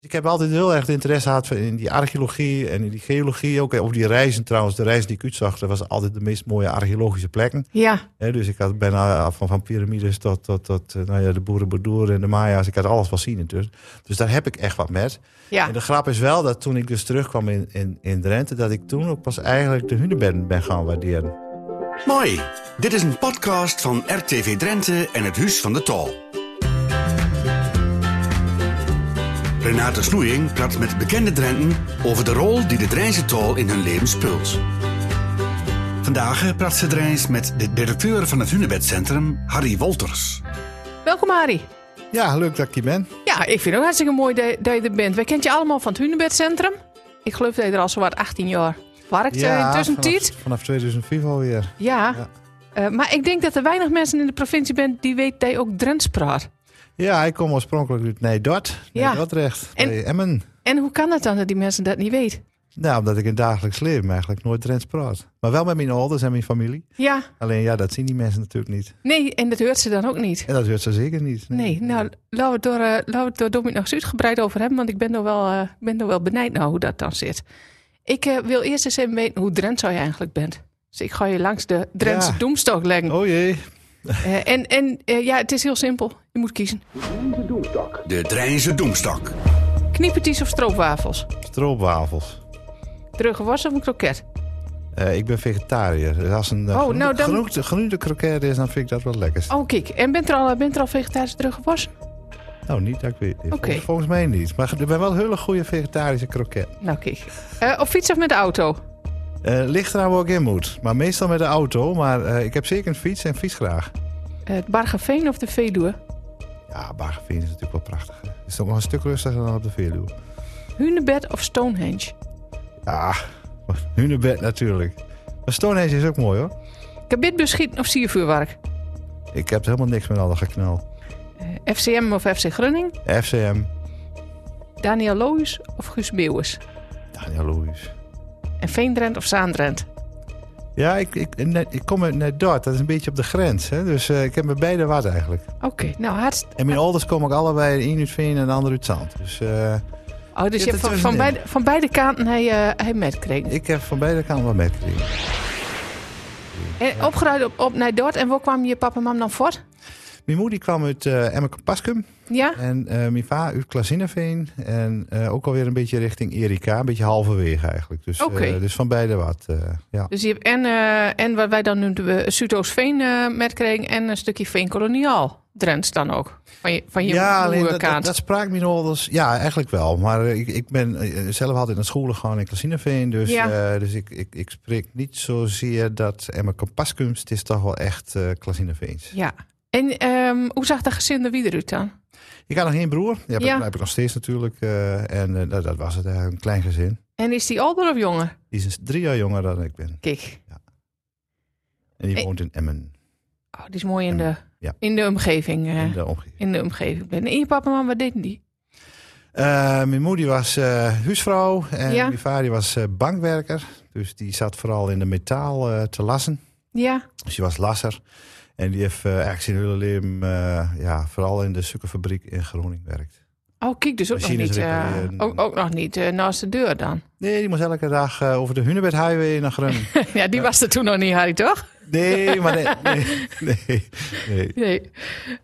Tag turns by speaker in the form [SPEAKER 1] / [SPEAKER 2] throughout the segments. [SPEAKER 1] Dus ik heb altijd heel erg interesse gehad in die archeologie en in die geologie. Ook op die reizen trouwens, de reis die ik uitzag, dat was altijd de meest mooie archeologische plekken.
[SPEAKER 2] Ja,
[SPEAKER 1] Hè, dus ik had bijna van, van piramides tot, tot, tot eh, nou ja, de Boerenboedoer en de Maya's. Ik had alles wel zien natuurlijk. Dus daar heb ik echt wat met.
[SPEAKER 2] ja.
[SPEAKER 1] En de grap is wel dat toen ik dus terugkwam in, in, in Drenthe, dat ik toen ook pas eigenlijk de hunebedden ben gaan waarderen.
[SPEAKER 3] Mooi. Dit is een podcast van RTV Drenthe en het Huis van de Tal. Renate Snoeing praat met bekende Drenten over de rol die de Drijnse Tal in hun leven speelt. Vandaag eh, praat ze Drijns met de directeur van het Hunebedcentrum, Harry Wolters.
[SPEAKER 2] Welkom Harry.
[SPEAKER 1] Ja, leuk dat ik hier ben.
[SPEAKER 2] Ja, ik vind het ook hartstikke mooi dat, dat je er bent. Wij kent je allemaal van het Hunebedcentrum. Ik geloof dat je er al zowat 18 jaar werkt eh,
[SPEAKER 1] ja,
[SPEAKER 2] intussen
[SPEAKER 1] vanaf,
[SPEAKER 2] tijd.
[SPEAKER 1] vanaf 2005 alweer.
[SPEAKER 2] Ja.
[SPEAKER 1] Ja.
[SPEAKER 2] Eh, maar ik denk dat er weinig mensen in de provincie bent die weet dat je ook Drents praat.
[SPEAKER 1] Ja, ik kom oorspronkelijk uit Nijdort,
[SPEAKER 2] Ja.
[SPEAKER 1] Nijdordrecht,
[SPEAKER 2] En-
[SPEAKER 1] bij Emmen.
[SPEAKER 2] En hoe kan het dan dat die mensen dat niet weten?
[SPEAKER 1] Nou, omdat ik in het dagelijks leven eigenlijk nooit Drents praat. Maar wel met mijn ouders en mijn familie.
[SPEAKER 2] Ja,
[SPEAKER 1] Alleen ja, dat zien die mensen natuurlijk niet.
[SPEAKER 2] nee, en dat hoort ze dan ook niet.
[SPEAKER 1] En dat hoort ze zeker niet.
[SPEAKER 2] Nee, nou, laten we het door, eh, laten we het door Dominic nog eens uitgebreid over hebben, want ik ben er wel, eh, ik ben er wel benijd naar hoe dat dan zit. Ik eh, wil eerst eens even weten hoe Drents je eigenlijk bent. Dus ik ga je langs de Drentse
[SPEAKER 1] Ja.
[SPEAKER 2] doemstok leggen.
[SPEAKER 1] Oh jee.
[SPEAKER 2] Eh, en en eh, ja, het is heel simpel. Je moet kiezen.
[SPEAKER 3] De Drijnse Doemstak.
[SPEAKER 2] Kniepertjes of stroopwafels?
[SPEAKER 1] Stroopwafels.
[SPEAKER 2] Drugge worst of een kroket?
[SPEAKER 1] Eh, ik ben vegetariër. Dus als een eh,
[SPEAKER 2] Oh,
[SPEAKER 1] groente,
[SPEAKER 2] nou, dan-
[SPEAKER 1] groente, groente kroket is, dan vind ik dat wel lekker.
[SPEAKER 2] Oh, kijk. En bent er al, bent er al vegetarische drugge worst?
[SPEAKER 1] Nou, niet dat ik weet. Volgens-
[SPEAKER 2] Oké.
[SPEAKER 1] Volgens mij niet. Maar er zijn wel hele goede vegetarische kroket.
[SPEAKER 2] Nou, kijk. Eh, op fiets of met de auto?
[SPEAKER 1] Eh ligt eraan waar ik in moet. Maar meestal met de auto. Maar eh, ik heb zeker een fiets en fiets graag.
[SPEAKER 2] Eh, het Bargeveen of de Veluwe?
[SPEAKER 1] Ja, Bargeveen is natuurlijk wel prachtig. hè. Het is toch nog een stuk rustiger dan op de Veluwe.
[SPEAKER 2] Hunebed of Stonehenge?
[SPEAKER 1] Ja, Hunebed natuurlijk. Maar Stonehenge is ook mooi hoor.
[SPEAKER 2] Kabitbus schieten of siervuurwerk?
[SPEAKER 1] Ik heb helemaal niks met al dat geknal.
[SPEAKER 2] Eh, FCM of FC Grunning?
[SPEAKER 1] FCM,
[SPEAKER 2] Daniel Loos of Guus Meeuwis?
[SPEAKER 1] Daniel Louis.
[SPEAKER 2] En Veendrent of Zaandrent?
[SPEAKER 1] Ja, ik, ik, net- ik kom uit net Dort. Dat is een beetje op de grens. Hè? Dus eh, ik heb met beide wat eigenlijk.
[SPEAKER 2] Oké, nou hartst.
[SPEAKER 1] En mijn ouders komen ook allebei. één uit Veen en de ander uit Zand. Dus eh,
[SPEAKER 2] Oh, dus
[SPEAKER 1] Zit
[SPEAKER 2] je hebt
[SPEAKER 1] er
[SPEAKER 2] van, van,
[SPEAKER 1] tussenin.
[SPEAKER 2] beide, van beide kanten hij, eh, hij metkregen.
[SPEAKER 1] ik heb van beide kanten wat metgekregen.
[SPEAKER 2] En opgeruid op, op naar Dort. En waar kwam je papa en mam dan voor?
[SPEAKER 1] Mijn moeder die kwam uit eh Emmerkamp-Paskum.
[SPEAKER 2] Ja?
[SPEAKER 1] En eh mijn vader uit Klazineveen. En eh, ook alweer een beetje richting Erika. Een beetje halverwege eigenlijk. Dus, eh,
[SPEAKER 2] Oké.
[SPEAKER 1] dus van beide wat. eh, ja.
[SPEAKER 2] Dus je hebt en, eh, en wat wij dan noemden we Zuidoostveen eh metkregen. En een stukje Veenkoloniaal. Drents dan ook. Van je, van je
[SPEAKER 1] ja, alleen dat, dat,
[SPEAKER 2] moederkant.
[SPEAKER 1] dat sprak me nog wel eens. Ja, eigenlijk wel. Maar eh, ik, ik ben eh, zelf altijd naar school gegaan in Klasineveen. Dus,
[SPEAKER 2] Ja.
[SPEAKER 1] eh, dus ik, ik, ik spreek niet zozeer dat Emma Kampaskunst Het is toch wel echt eh Klasineveens.
[SPEAKER 2] Ja. En ehm, hoe zag dat gezin er weer uit dan?
[SPEAKER 1] Ik had nog één broer. Ja, dat
[SPEAKER 2] Ja.
[SPEAKER 1] heb ik nog steeds natuurlijk. eh, en eh, nou, dat was het eigenlijk. Een klein gezin.
[SPEAKER 2] En is die ouder of jonger?
[SPEAKER 1] Die is dus drie jaar jonger dan ik ben.
[SPEAKER 2] Kijk.
[SPEAKER 1] En die
[SPEAKER 2] Hey.
[SPEAKER 1] woont in Emmen.
[SPEAKER 2] Oh, die is mooi in de,
[SPEAKER 1] Ja.
[SPEAKER 2] in de omgeving. eh,
[SPEAKER 1] In de omgeving.
[SPEAKER 2] in de omgeving ben. En je papa en mama, wat deden die?
[SPEAKER 1] Eh, mijn moeder was eh, huisvrouw en
[SPEAKER 2] Ja.
[SPEAKER 1] mijn vader die was eh, bankwerker. Dus die zat vooral in de metaal eh, te lassen.
[SPEAKER 2] Ja,
[SPEAKER 1] Dus die was lasser. En die heeft eh, eigenlijk zijn hele leven eh, ja, vooral in de suikerfabriek in Groningen gewerkt.
[SPEAKER 2] oh kijk, dus ook nog
[SPEAKER 1] Machines
[SPEAKER 2] niet, eh,
[SPEAKER 1] repareren.
[SPEAKER 2] ook, ook nog niet eh, naast de deur dan.
[SPEAKER 1] Nee, die moest elke dag eh, over de Hunebed Highway naar Groningen.
[SPEAKER 2] ja, die was er toen nog niet, Harry, toch?
[SPEAKER 1] nee, maar nee. Nee, nee, nee.
[SPEAKER 2] Nee.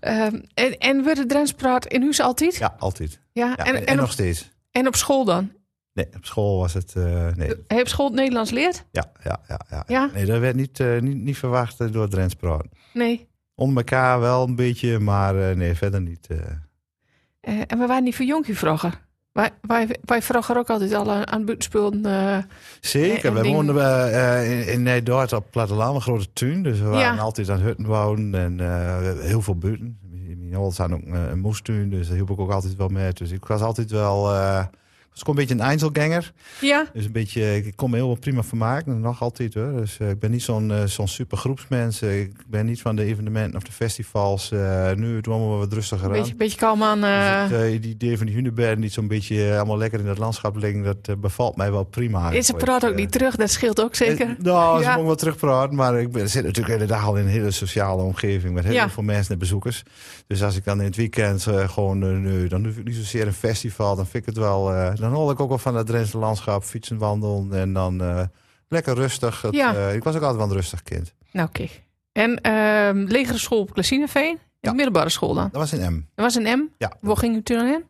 [SPEAKER 2] Ehm, en, en werd de Drents praat in huis altijd?
[SPEAKER 1] Ja, altijd.
[SPEAKER 2] Ja,
[SPEAKER 1] Ja,
[SPEAKER 2] en, en, op,
[SPEAKER 1] nog steeds.
[SPEAKER 2] en op school dan?
[SPEAKER 1] Nee, op school was het... eh, nee,
[SPEAKER 2] Heb je op school het Nederlands leerd?
[SPEAKER 1] ja, ja, ja, ja.
[SPEAKER 2] Ja?
[SPEAKER 1] Nee, dat werd niet, eh, niet, niet verwacht eh, door Drents Praat.
[SPEAKER 2] Nee.
[SPEAKER 1] Onder elkaar wel een beetje, maar eh, nee, verder niet. eh.
[SPEAKER 2] Eh, en we waren niet voor jonkje vroeger. Wij, wij, wij vroeger ook altijd al aan, aan buitenspullen. eh,
[SPEAKER 1] Zeker,
[SPEAKER 2] En
[SPEAKER 1] we
[SPEAKER 2] ding-
[SPEAKER 1] woonden eh, eh, in, in Nijdort op het platteland, een grote tuin. Dus we waren
[SPEAKER 2] Ja.
[SPEAKER 1] altijd aan hutten wonen en eh, heel veel buiten. Mijn ouders hadden ook eh, een moestuin, dus daar hielp ik ook altijd wel mee. Dus ik was altijd wel, eh, ik was is gewoon een beetje een Einzelganger.
[SPEAKER 2] Ja,
[SPEAKER 1] Dus een beetje, ik kom me heel wel prima vermaken, en nog altijd hoor. Dus eh, ik ben niet zo'n eh, zo'n super groepsmens. Eh, Ik ben niet van de evenementen of de festivals. Eh, nu doen we maar wat rustiger
[SPEAKER 2] een
[SPEAKER 1] aan.
[SPEAKER 2] beetje, beetje kalm aan. eh,
[SPEAKER 1] Dus het, eh, die idee van die Hunebedden die zo'n beetje eh, allemaal lekker in het landschap liggen, dat eh, bevalt mij wel prima.
[SPEAKER 2] is het praat ook niet terug, dat scheelt ook zeker.
[SPEAKER 1] Eh, nou, ze
[SPEAKER 2] Ja.
[SPEAKER 1] mogen wel terugpraten, maar ik ben, zit natuurlijk de hele dag al in een hele sociale omgeving met heel
[SPEAKER 2] Ja.
[SPEAKER 1] veel mensen en bezoekers. Dus als ik dan in het weekend eh, gewoon, eh, nee, dan hoef ik niet zozeer een festival, dan vind ik het wel, eh, dan hol ik ook wel van het Drentse landschap, fietsen, wandelen en dan eh, lekker rustig. Het,
[SPEAKER 2] Ja.
[SPEAKER 1] eh, ik was ook altijd wel een rustig kind.
[SPEAKER 2] Nou, oké. En ehm legere school op Klasineveen? en
[SPEAKER 1] Ja.
[SPEAKER 2] middelbare school dan?
[SPEAKER 1] Dat was in M.
[SPEAKER 2] Er was een M.
[SPEAKER 1] Ja,
[SPEAKER 2] Waar ging u toen aan in?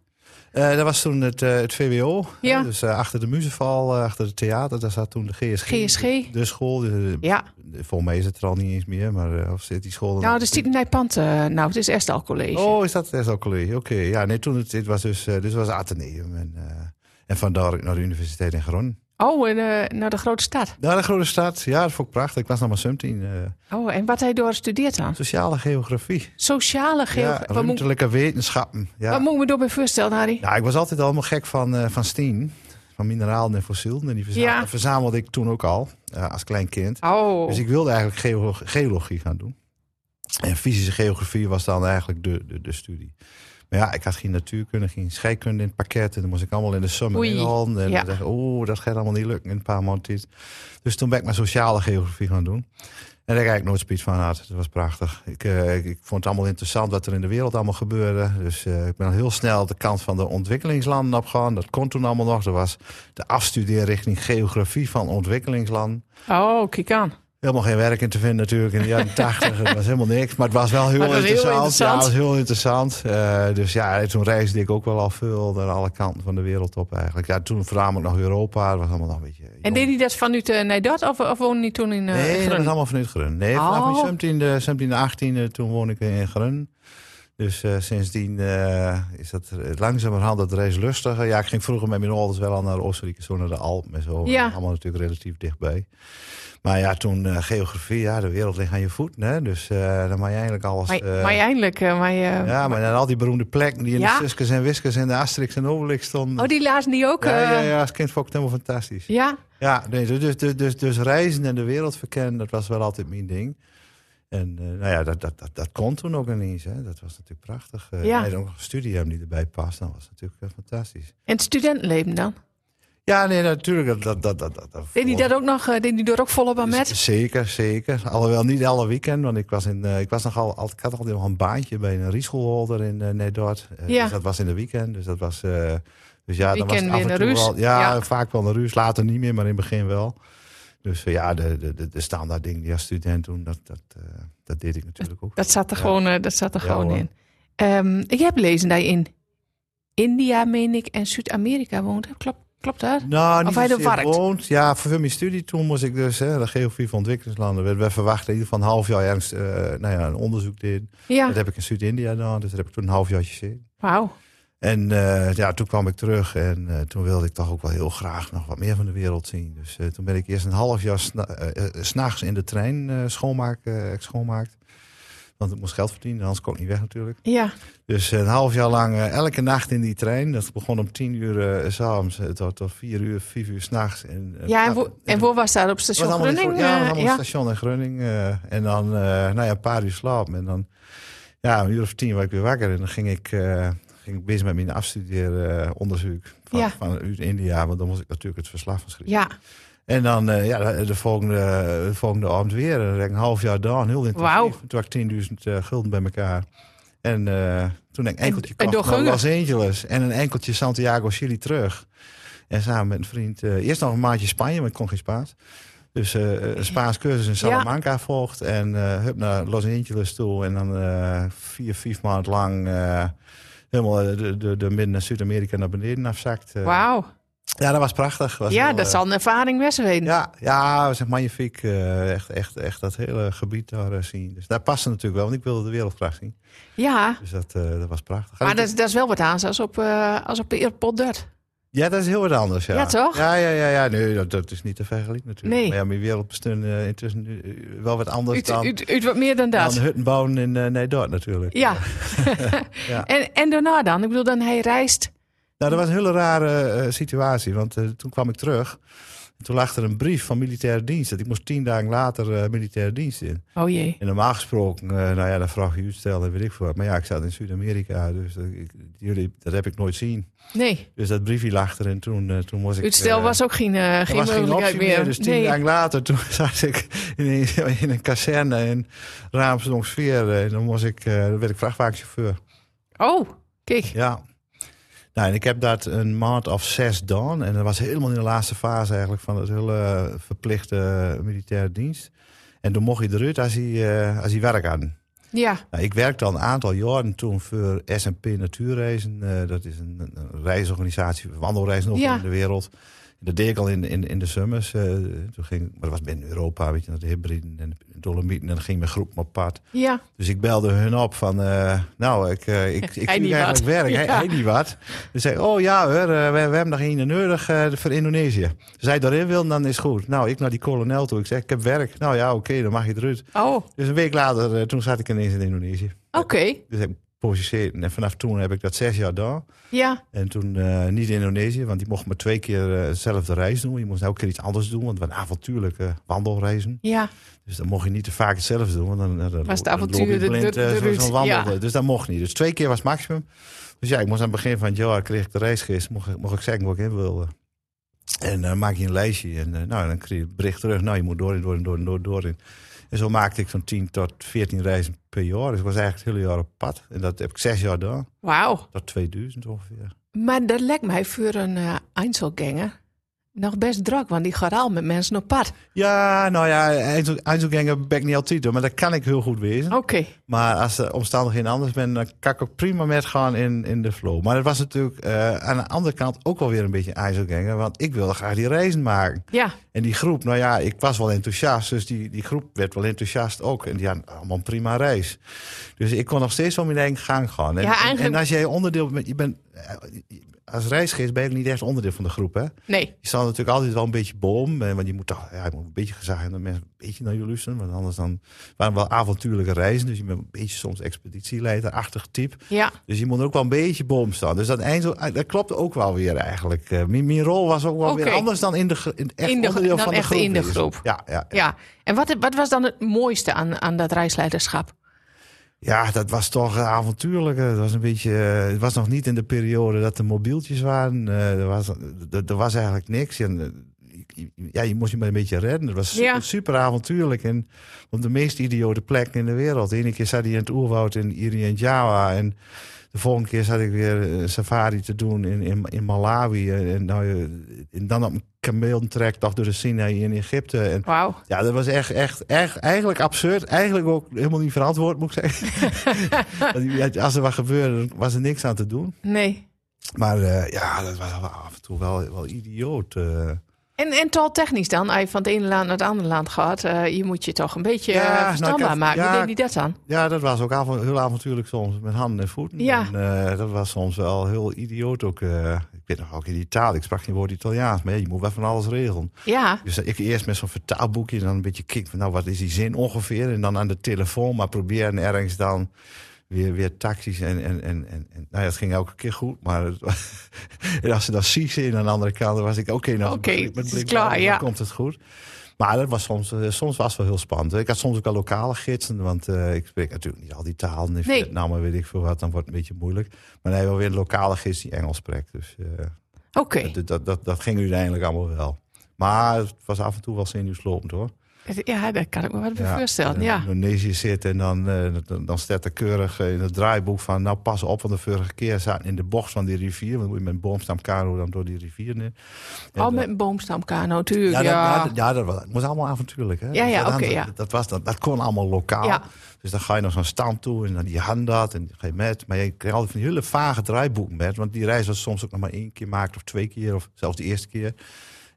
[SPEAKER 1] Eh, dat was toen het, eh, het VWO, hè,
[SPEAKER 2] Ja.
[SPEAKER 1] dus eh, achter de muzenval, eh, achter het theater, daar zat toen de GSG.
[SPEAKER 2] GSG?
[SPEAKER 1] De school, de-
[SPEAKER 2] Ja.
[SPEAKER 1] de- volgens mij is het er al niet eens meer, maar eh, of zit die school... er
[SPEAKER 2] Nou,
[SPEAKER 1] nog?
[SPEAKER 2] dus die Nijpand, eh nou, het is Estal College.
[SPEAKER 1] Oh, is dat echt al college? Oké, ja, nee, toen het, dit was dus, eh, dit was Atheneum en, eh en vandaar naar de universiteit in Groningen.
[SPEAKER 2] Oh, en, eh, naar de grote stad.
[SPEAKER 1] Naar de grote stad, ja, dat vond ik prachtig. Ik was nog maar 17. eh,
[SPEAKER 2] Oh, en wat hij door studeert dan?
[SPEAKER 1] sociale geografie,
[SPEAKER 2] Sociale
[SPEAKER 1] ja,
[SPEAKER 2] geografie. wat, moet,
[SPEAKER 1] ruimtelijke wetenschappen. Ja.
[SPEAKER 2] wat moet ik me daarbij voorstellen, Harry?
[SPEAKER 1] ja, ik was altijd allemaal gek van, eh, van steen, van mineralen en fossielen. En die verza-
[SPEAKER 2] Ja.
[SPEAKER 1] verzamelde ik toen ook al, eh, als klein kind.
[SPEAKER 2] Oh,
[SPEAKER 1] Dus ik wilde eigenlijk geo- geologie gaan doen. En fysische geografie was dan eigenlijk de, de, de studie. Maar ja, ik had geen natuurkunde, geen scheikunde in het pakket. En dan moest ik allemaal in de sommen
[SPEAKER 2] Oei,
[SPEAKER 1] in handen. En
[SPEAKER 2] ja.
[SPEAKER 1] dan dacht ik, oeh, dat gaat allemaal niet lukken in een paar maanden tijd. Dus toen ben ik mijn sociale geografie gaan doen. En daar krijg ik nooit speed van had. Dat was prachtig. Ik, eh, ik, ik vond het allemaal interessant wat er in de wereld allemaal gebeurde. Dus eh, ik ben al heel snel de kant van de ontwikkelingslanden opgegaan. Dat kon toen allemaal nog. Er was de afstudeerrichting geografie van ontwikkelingslanden.
[SPEAKER 2] oh kijk aan.
[SPEAKER 1] Helemaal geen werk in te vinden natuurlijk in de jaren 80. Het was helemaal niks, maar het was wel heel
[SPEAKER 2] Maar het was heel
[SPEAKER 1] interessant. Ja,
[SPEAKER 2] interessant.
[SPEAKER 1] het was heel interessant. Eh, dus ja, toen reisde ik ook wel al veel naar alle kanten van de wereld op eigenlijk. Ja, toen voornamelijk nog Europa. Dat was allemaal nog een beetje...
[SPEAKER 2] En deed hij dat vanuit eh Nijdad of, of woonde hij toen in eh
[SPEAKER 1] Nee, dat was
[SPEAKER 2] Groningen?
[SPEAKER 1] allemaal vanuit Grun. Nee, vanaf
[SPEAKER 2] Oh.
[SPEAKER 1] mijn 17e, 17e, 18e, toen woon ik in Grun. Dus eh, sindsdien eh, is dat eh, langzamerhand dat reis lustiger. Ja, ik ging vroeger met mijn ouders wel al naar Oostenrijk, zo naar de Alpen en zo.
[SPEAKER 2] Ja.
[SPEAKER 1] Allemaal natuurlijk relatief dichtbij. Maar ja, toen eh, geografie, ja, de wereld ligt aan je voeten. Hè? Dus eh dan mag je eigenlijk alles...
[SPEAKER 2] Maar,
[SPEAKER 1] eh,
[SPEAKER 2] maar eindelijk, eh, maar, eh,
[SPEAKER 1] ja, maar naar al die beroemde plekken die in
[SPEAKER 2] Ja?
[SPEAKER 1] de Suskes en Wiskers en de Asterix en Obelix stonden.
[SPEAKER 2] Oh, die lazen die ook?
[SPEAKER 1] ja, ja,
[SPEAKER 2] eh,
[SPEAKER 1] ja, als kind vond ik het helemaal fantastisch.
[SPEAKER 2] ja?
[SPEAKER 1] Ja, nee, dus, dus, dus, dus, dus reizen en de wereld verkennen, dat was wel altijd mijn ding. En eh, nou ja, dat, dat, dat, dat kon toen ook ineens. Hè. Dat was natuurlijk prachtig. Eh,
[SPEAKER 2] Ja.
[SPEAKER 1] En ook nog een studie hebben die erbij past, dat was natuurlijk eh, fantastisch.
[SPEAKER 2] En het studentenleven dan?
[SPEAKER 1] Ja, nee, natuurlijk. Dat, dat, dat, dat, dat,
[SPEAKER 2] Deed hij dat ook nog, eh, deed hij door ook volop aan met?
[SPEAKER 1] Z- Zeker, zeker. Alhoewel niet alle weekend, want ik was, in, eh, ik was nogal, al- ik had altijd nog een baantje bij een rieschoolholder in eh Nedort. Eh,
[SPEAKER 2] Ja.
[SPEAKER 1] Dus dat was in de weekend, dus dat was... eh, dus ja, dan was het
[SPEAKER 2] Weekend
[SPEAKER 1] af
[SPEAKER 2] weer
[SPEAKER 1] en
[SPEAKER 2] een
[SPEAKER 1] toe
[SPEAKER 2] ruus.
[SPEAKER 1] wel- ja,
[SPEAKER 2] Ja.
[SPEAKER 1] vaak wel een ruus. Later niet meer, maar in het begin wel. Dus eh, ja, de, de, de, de standaard dingen die als student doen, dat, dat, eh, dat deed ik natuurlijk ook.
[SPEAKER 2] Dat zat er
[SPEAKER 1] Ja.
[SPEAKER 2] gewoon, eh, dat zat er
[SPEAKER 1] Ja,
[SPEAKER 2] gewoon
[SPEAKER 1] hoor.
[SPEAKER 2] in. Ehm, ik heb lezen dat je in India, meen ik, en Zuid-Amerika woont. Klopt, klopt dat?
[SPEAKER 1] Nou, niet
[SPEAKER 2] Of hij er
[SPEAKER 1] zozeer
[SPEAKER 2] werkt.
[SPEAKER 1] woont. Ja, voor mijn studie toen moest ik dus, hè, de geografie van ontwikkelingslanden, werd, werd verwacht in ieder geval een half jaar ergens, eh, nou ja, een onderzoek deed.
[SPEAKER 2] Ja,
[SPEAKER 1] Dat heb ik in Zuid-India gedaan, dus daar heb ik toen een half jaartje zitten.
[SPEAKER 2] wauw.
[SPEAKER 1] En eh, ja, toen kwam ik terug en eh, toen wilde ik toch ook wel heel graag nog wat meer van de wereld zien. Dus eh, toen ben ik eerst een half jaar sna- eh, eh, s'nachts in de trein eh schoonmaak, eh, ik schoonmaakte. Want ik moest geld verdienen, anders kon ik niet weg natuurlijk.
[SPEAKER 2] Ja,
[SPEAKER 1] Dus een half jaar lang eh, elke nacht in die trein. Dat begon om tien uur eh, s'avonds eh, tot, tot vier uur, vijf uur s'nachts. En, eh,
[SPEAKER 2] ja en,
[SPEAKER 1] nou,
[SPEAKER 2] wo- en waar was dat? Op station
[SPEAKER 1] was allemaal in
[SPEAKER 2] Groningen?
[SPEAKER 1] Gro- Ja, was
[SPEAKER 2] Eh,
[SPEAKER 1] allemaal
[SPEAKER 2] ja.
[SPEAKER 1] station in Groningen. eh, en dan, eh, nou ja, een paar uur slaap. En dan, ja, een uur of tien werd ik weer wakker. En dan ging ik, eh, ging ik bezig met mijn afstudeeronderzoek van,
[SPEAKER 2] Ja.
[SPEAKER 1] van uit India. Want dan moest ik natuurlijk het verslag van schrijven.
[SPEAKER 2] Ja.
[SPEAKER 1] En dan, eh, ja, de, de volgende, eh, de volgende avond weer. En dan heb ik een half jaar gedaan. Heel intensief.
[SPEAKER 2] Wauw.
[SPEAKER 1] Toen had ik 10.000 eh, gulden bij elkaar. En eh, toen heb ik een enkeltje
[SPEAKER 2] en
[SPEAKER 1] kocht naar
[SPEAKER 2] doorgingen.
[SPEAKER 1] Los Angeles. En een enkeltje Santiago, Chili terug. En samen met een vriend. eh, eerst nog een maandje Spanje, maar ik kon geen Spaans. Dus eh, een Spaans cursus in Salamanca volgt. En eh, hup naar Los Angeles toe. En dan eh, vier, vijf maanden lang... eh, Helemaal eh, de, de, de midden naar Zuid-Amerika naar beneden afzakt. Eh,
[SPEAKER 2] Wauw.
[SPEAKER 1] Ja, dat was prachtig. Was
[SPEAKER 2] Ja,
[SPEAKER 1] heel,
[SPEAKER 2] dat
[SPEAKER 1] eh,
[SPEAKER 2] zal een ervaring best weten.
[SPEAKER 1] ja, ja, dat is echt magnifiek. eh, echt, echt, echt dat hele gebied daar eh, zien. Dus daar paste natuurlijk wel, want ik wilde de wereldkracht zien.
[SPEAKER 2] Ja,
[SPEAKER 1] Dus dat, eh, dat was prachtig.
[SPEAKER 2] maar dat, dat is wel wat aan als op, eh, als op de Eerpot Dut.
[SPEAKER 1] Ja, dat is heel wat anders. Ja,
[SPEAKER 2] Ja, toch?
[SPEAKER 1] Ja, ja, ja. ja. Nee, dat, dat is niet te vergelijken natuurlijk.
[SPEAKER 2] Nee.
[SPEAKER 1] Maar ja, mijn wereld bestond eh, intussen nu, eh, wel wat anders
[SPEAKER 2] Uit,
[SPEAKER 1] dan,
[SPEAKER 2] uit, uit wat meer dan dat.
[SPEAKER 1] dan hutten bouwen in eh Nijdorp natuurlijk.
[SPEAKER 2] Ja.
[SPEAKER 1] Ja.
[SPEAKER 2] En, en daarna dan? Ik bedoel, dan hij reist
[SPEAKER 1] Nou, dat was een hele rare eh, situatie, want eh, toen kwam ik terug. Toen lag er een brief van militaire dienst. dat Ik moest tien dagen later eh, militaire dienst in.
[SPEAKER 2] Oh jee.
[SPEAKER 1] En normaal gesproken, eh, nou ja, dan vraag je uitstel en weet ik veel wat. Maar ja, ik zat in Zuid-Amerika, dus eh, ik- jullie, dat heb ik nooit zien.
[SPEAKER 2] Nee,
[SPEAKER 1] Dus dat briefje lag er en toen, eh, toen moest ik...
[SPEAKER 2] uitstel
[SPEAKER 1] eh,
[SPEAKER 2] was ook geen, eh,
[SPEAKER 1] er
[SPEAKER 2] geen
[SPEAKER 1] was geen
[SPEAKER 2] mogelijkheid
[SPEAKER 1] optie
[SPEAKER 2] meer.
[SPEAKER 1] meer. Dus tien
[SPEAKER 2] nee.
[SPEAKER 1] dagen later, toen zat ik in een, in een kazerne in Raamsdonksfeer. eh, En dan, moest ik, eh, dan werd ik vrachtwagenchauffeur.
[SPEAKER 2] Oh, kijk.
[SPEAKER 1] Ja. Nou, en ik heb dat een maand of zes dan. En dat was helemaal in de laatste fase eigenlijk van het hele eh, verplichte eh, militaire dienst. En toen mocht je eruit als hij, eh, als hij werk had.
[SPEAKER 2] Ja,
[SPEAKER 1] Nou, ik werkte al een aantal jaren toen voor S&P Natuurreizen. Eh, dat is een, een reisorganisatie, wandelreizen over
[SPEAKER 2] Ja.
[SPEAKER 1] in de wereld. Dat deed ik al in, in, in de summers. eh, toen ging, maar dat was binnen Europa, weet je, naar de Hebriden en de Dolomieten. En dan ging mijn groep op pad.
[SPEAKER 2] ja.
[SPEAKER 1] Dus ik belde hun op van, eh, nou, ik, eh, ik, ik
[SPEAKER 2] Hij
[SPEAKER 1] doe
[SPEAKER 2] niet
[SPEAKER 1] eigenlijk
[SPEAKER 2] wat.
[SPEAKER 1] werk, hij,
[SPEAKER 2] Ja.
[SPEAKER 1] hij niet wat. Ze zei, oh ja hoor, eh, we, we hebben nog één nodig eh, voor Indonesië. Als hij daarin wil, dan is het goed. Nou, ik naar die kolonel toe, ik zeg, ik heb werk. Nou ja, oké, dan mag je eruit.
[SPEAKER 2] Oh, oké.
[SPEAKER 1] Dus een week later, eh, toen zat ik ineens in Indonesië. Dus heb ik gepositioneerd. En vanaf toen heb ik dat zes jaar gedaan.
[SPEAKER 2] Ja,
[SPEAKER 1] En toen eh, niet in Indonesië, want die mocht maar twee keer eh, dezelfde reis doen. Je moest elke keer iets anders doen, want het waren avontuurlijke wandelreizen.
[SPEAKER 2] ja.
[SPEAKER 1] Dus dan mocht je niet te vaak hetzelfde doen, want dan, dan, dan
[SPEAKER 2] Was het
[SPEAKER 1] dan loop je
[SPEAKER 2] avontuur de-
[SPEAKER 1] blind,
[SPEAKER 2] de-
[SPEAKER 1] eh,
[SPEAKER 2] de
[SPEAKER 1] zo-
[SPEAKER 2] route,
[SPEAKER 1] zo'n wandel.
[SPEAKER 2] ja.
[SPEAKER 1] Dus dat mocht niet. Dus twee keer was het maximum. Dus ja, ik moest aan het begin van het jaar, kreeg ik de reisgids, mocht, ik- mocht ik zeggen wat ik in wilde. En dan maak je een lijstje en eh, nou, dan kreeg je het bericht terug. Nou, je moet door en door en door en door, door in. En zo maakte ik zo'n 10 tot 14 reizen per jaar. Dus ik was eigenlijk het hele jaar op pad. En dat heb ik zes jaar gedaan,
[SPEAKER 2] Wauw.
[SPEAKER 1] tot 2000 ongeveer.
[SPEAKER 2] Maar dat lijkt mij voor een eh Einzelganger nog best druk, want die gaat al met mensen op pad.
[SPEAKER 1] Ja, nou ja, eindel- eindelganger ben ik niet altijd hoor, maar dat kan ik heel goed wezen.
[SPEAKER 2] Oké.
[SPEAKER 1] Maar als de omstandigheden anders zijn, dan kan ik ook prima met gaan in, in de flow. Maar dat was natuurlijk eh, aan de andere kant ook wel weer een beetje ijzelganger. Want ik wilde graag die reizen maken.
[SPEAKER 2] Ja,
[SPEAKER 1] En die groep, nou ja, ik was wel enthousiast. Dus die, die groep werd wel enthousiast ook. En die hadden allemaal een prima reis. Dus ik kon nog steeds om mijn eigen gang gaan. En,
[SPEAKER 2] Ja, eigenlijk-
[SPEAKER 1] en als jij onderdeel bent, je bent... eh, Als reisgids ben je ook niet echt onderdeel van de groep, hè?
[SPEAKER 2] nee.
[SPEAKER 1] Je staat natuurlijk altijd wel een beetje bom. eh, Want je moet, toch, ja, je moet een beetje gezag hebben. dat Mensen een beetje naar je luisteren. Want anders dan waren wel avontuurlijke reizen. Dus je bent een beetje soms expeditieleiderachtig type.
[SPEAKER 2] Ja,
[SPEAKER 1] Dus je moet ook wel een beetje bom staan. Dus dat eindel, eh, dat klopt ook wel weer eigenlijk. Eh, Mijn, mijn rol was ook wel weer
[SPEAKER 2] Oké.
[SPEAKER 1] anders dan in de, gro- in echt
[SPEAKER 2] In de-
[SPEAKER 1] onderdeel
[SPEAKER 2] dan
[SPEAKER 1] van de
[SPEAKER 2] echt
[SPEAKER 1] groep.
[SPEAKER 2] in de
[SPEAKER 1] is.
[SPEAKER 2] groep.
[SPEAKER 1] Ja, ja, ja.
[SPEAKER 2] ja. En wat, wat was dan het mooiste aan, aan dat reisleiderschap?
[SPEAKER 1] ja, dat was toch eh, avontuurlijk. eh, Dat was een beetje, eh, het was nog niet in de periode dat er mobieltjes waren. Eh, er, was, er, er was eigenlijk niks. En, eh, je- je- ja, je moest je maar een beetje redden. Het was super,
[SPEAKER 2] Ja.
[SPEAKER 1] super avontuurlijk. En op de meest idiote plek in de wereld. De ene keer zat hij in het oerwoud in Iri en Java. En de volgende keer zat ik weer eh, safari te doen in, in, in Malawi. En, en nou, eh, en dan op een kameeltrek toch door de Sinaï in Egypte. En
[SPEAKER 2] Wauw.
[SPEAKER 1] ja, dat was echt, echt, echt eigenlijk absurd. Eigenlijk ook helemaal niet verantwoord, moet ik zeggen. Want ja, Als er wat gebeurde, dan was er niks aan te doen.
[SPEAKER 2] Nee.
[SPEAKER 1] Maar eh, ja, dat was wel af en toe wel, wel idioot. eh.
[SPEAKER 2] En, en tal technisch dan, als je van het ene land naar het andere land gaat, eh, je moet je toch een beetje
[SPEAKER 1] Ja,
[SPEAKER 2] eh,
[SPEAKER 1] nou, ik
[SPEAKER 2] verstaanbaar
[SPEAKER 1] heb-
[SPEAKER 2] maken.
[SPEAKER 1] ja.
[SPEAKER 2] Hoe deed hij dat dan?
[SPEAKER 1] Ja, dat was ook avond, heel avontuurlijk soms, met handen en voeten.
[SPEAKER 2] Ja.
[SPEAKER 1] En, eh, dat was soms wel heel idioot ook. eh. ik weet nog ook in Italië, ik sprak geen woord Italiaans, maar ja, je moet wel van alles regelen.
[SPEAKER 2] Ja,
[SPEAKER 1] Dus ik eerst met zo'n vertaalboekje en dan een beetje kik van, nou wat is die zin ongeveer? En dan aan de telefoon, maar proberen ergens dan weer, weer taxis. En, en, en, en, en- nou ja, het ging elke keer goed, maar het was- en als ze dan siezen in aan de andere kant, dan was ik oké, nou
[SPEAKER 2] Oké,
[SPEAKER 1] met
[SPEAKER 2] het is
[SPEAKER 1] blik-
[SPEAKER 2] klaar,
[SPEAKER 1] dan
[SPEAKER 2] ja.
[SPEAKER 1] komt het goed. Maar dat was soms, eh, soms was het wel heel spannend. Ik had soms ook wel lokale gidsen, want eh, ik spreek natuurlijk niet al die talen. In
[SPEAKER 2] Nee.
[SPEAKER 1] Vietnam en weet ik veel wat, dan wordt het een beetje moeilijk. Maar dan heb je wel weer een lokale gids die Engels spreekt. Dus eh,
[SPEAKER 2] oké.
[SPEAKER 1] dat, dat, dat, dat ging uiteindelijk allemaal wel. Maar het was af en toe wel zenuwslopend hoor.
[SPEAKER 2] Ja, dat kan ik me wel bij voorstellen.
[SPEAKER 1] in
[SPEAKER 2] Ja.
[SPEAKER 1] Indonesië zit en dan, eh, dan, dan staat er keurig eh, in het draaiboek van... nou pas op, want de vorige keer zaten in de bocht van die rivier... want dan moet je met een boomstamkano dan door die rivier neer. En
[SPEAKER 2] Al
[SPEAKER 1] dan-
[SPEAKER 2] met een boomstamkano natuurlijk.
[SPEAKER 1] ja,
[SPEAKER 2] Ja,
[SPEAKER 1] dat, ja. dat- ja, dat was, het was allemaal avontuurlijk. Hè?
[SPEAKER 2] Ja, ja,
[SPEAKER 1] dat,
[SPEAKER 2] oké,
[SPEAKER 1] dat-
[SPEAKER 2] ja.
[SPEAKER 1] Dat, was, dat, dat kon allemaal lokaal.
[SPEAKER 2] Ja.
[SPEAKER 1] Dus dan ga je naar zo'n stand toe en dan die hand dat en ga je met. Maar je kreeg altijd van die hele vage draaiboeken met. Want die reis was soms ook nog maar één keer maakt of twee keer of zelfs de eerste keer.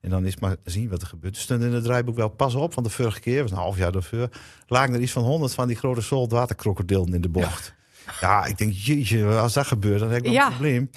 [SPEAKER 1] En dan is maar zien wat er gebeurt. Er stond in het draaiboek wel pas op, want de vorige keer, was een half jaar daarvoor, lagen er iets van honderd van die grote zoldwaterkrokodillen in de bocht. Ja, ik denk, jeetje, als dat gebeurt, dan heb ik wel
[SPEAKER 2] Ja.
[SPEAKER 1] een probleem.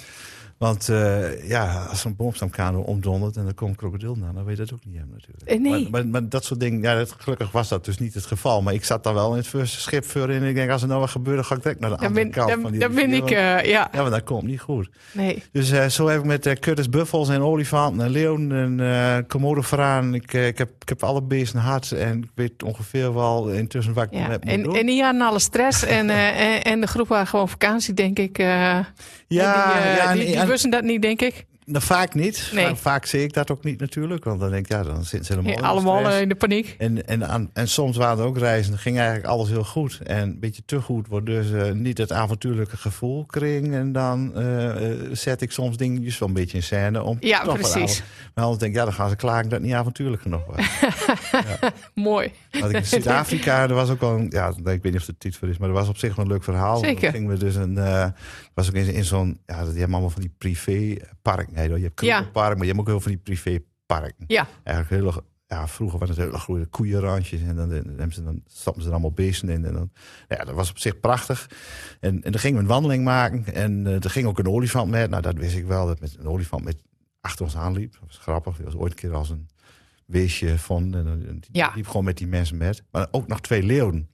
[SPEAKER 1] Want eh, ja, als een boomstamkano omdondert en er komt een krokodil na, dan weet je dat ook niet hem natuurlijk.
[SPEAKER 2] Eh, nee.
[SPEAKER 1] Maar, maar, maar dat soort dingen, ja, dat, gelukkig was dat dus niet het geval. Maar ik zat dan wel in het first schip voor in. En ik denk, als er nou wat gebeurt, dan ga ik direct naar de
[SPEAKER 2] Dan
[SPEAKER 1] andere
[SPEAKER 2] ben,
[SPEAKER 1] kant.
[SPEAKER 2] dan,
[SPEAKER 1] van die
[SPEAKER 2] dan ben
[SPEAKER 1] rivier,
[SPEAKER 2] ik,
[SPEAKER 1] want-
[SPEAKER 2] eh, ja.
[SPEAKER 1] Ja, maar dat komt niet goed.
[SPEAKER 2] Nee.
[SPEAKER 1] Dus eh, zo heb ik met eh Curtis buffels en olifanten en leeuwen en eh komodovaraan. Ik, eh, ik, heb, ik heb alle beesten hard en ik weet ongeveer wel intussen waar ik
[SPEAKER 2] Ja.
[SPEAKER 1] mee moet
[SPEAKER 2] En,
[SPEAKER 1] doen.
[SPEAKER 2] en die hadden alle stress en, eh, en, en de groep waren gewoon op vakantie, denk ik. eh.
[SPEAKER 1] ja,
[SPEAKER 2] En die, eh,
[SPEAKER 1] ja,
[SPEAKER 2] die,
[SPEAKER 1] en-
[SPEAKER 2] die
[SPEAKER 1] en-
[SPEAKER 2] wisten dat niet, denk ik.
[SPEAKER 1] nou, vaak niet.
[SPEAKER 2] Nee.
[SPEAKER 1] Vaak, vaak zie ik dat ook niet natuurlijk. Want dan denk ik, ja, dan zitten ze helemaal
[SPEAKER 2] Ja,
[SPEAKER 1] in de
[SPEAKER 2] allemaal
[SPEAKER 1] stress.
[SPEAKER 2] eh, in de paniek.
[SPEAKER 1] En, en, aan- en soms waren er ook reizen, ging eigenlijk alles heel goed. En een beetje te goed wordt dus eh, niet het avontuurlijke gevoel kring. En dan eh, eh, zet ik soms dingetjes wel een beetje in scène. Om
[SPEAKER 2] Ja,
[SPEAKER 1] toch wat
[SPEAKER 2] precies.
[SPEAKER 1] avond- Maar anders denk ik, ja, dan gaan ze klagen dat het niet avontuurlijk genoeg was.
[SPEAKER 2] Mooi.
[SPEAKER 1] Want ik in Zuid-Afrika, er was ook wel een, ja, ik weet niet of het de titel voor is, maar er was op zich wel een leuk verhaal.
[SPEAKER 2] Zeker.
[SPEAKER 1] Toen Gingen we dus een, eh, was ook in, in zo'n, ja, die hebben allemaal van die privépark. Nee, je hebt
[SPEAKER 2] Ja.
[SPEAKER 1] park, maar je hebt ook heel veel van die privéparken.
[SPEAKER 2] Ja.
[SPEAKER 1] Eigenlijk hele, ja, vroeger waren het hele goede koeienrandjes en dan, hebben ze, dan stappen ze er allemaal beesten in. En dan, ja, dat was op zich prachtig. En, en dan gingen we een wandeling maken en eh, er ging ook een olifant met. Nou, dat wist ik wel, dat met een olifant met achter ons aanliep. Dat was grappig, die was ooit een keer als een weesje van. En, dan- en die
[SPEAKER 2] Ja.
[SPEAKER 1] liep gewoon met die mensen met. Maar ook nog twee leeuwen.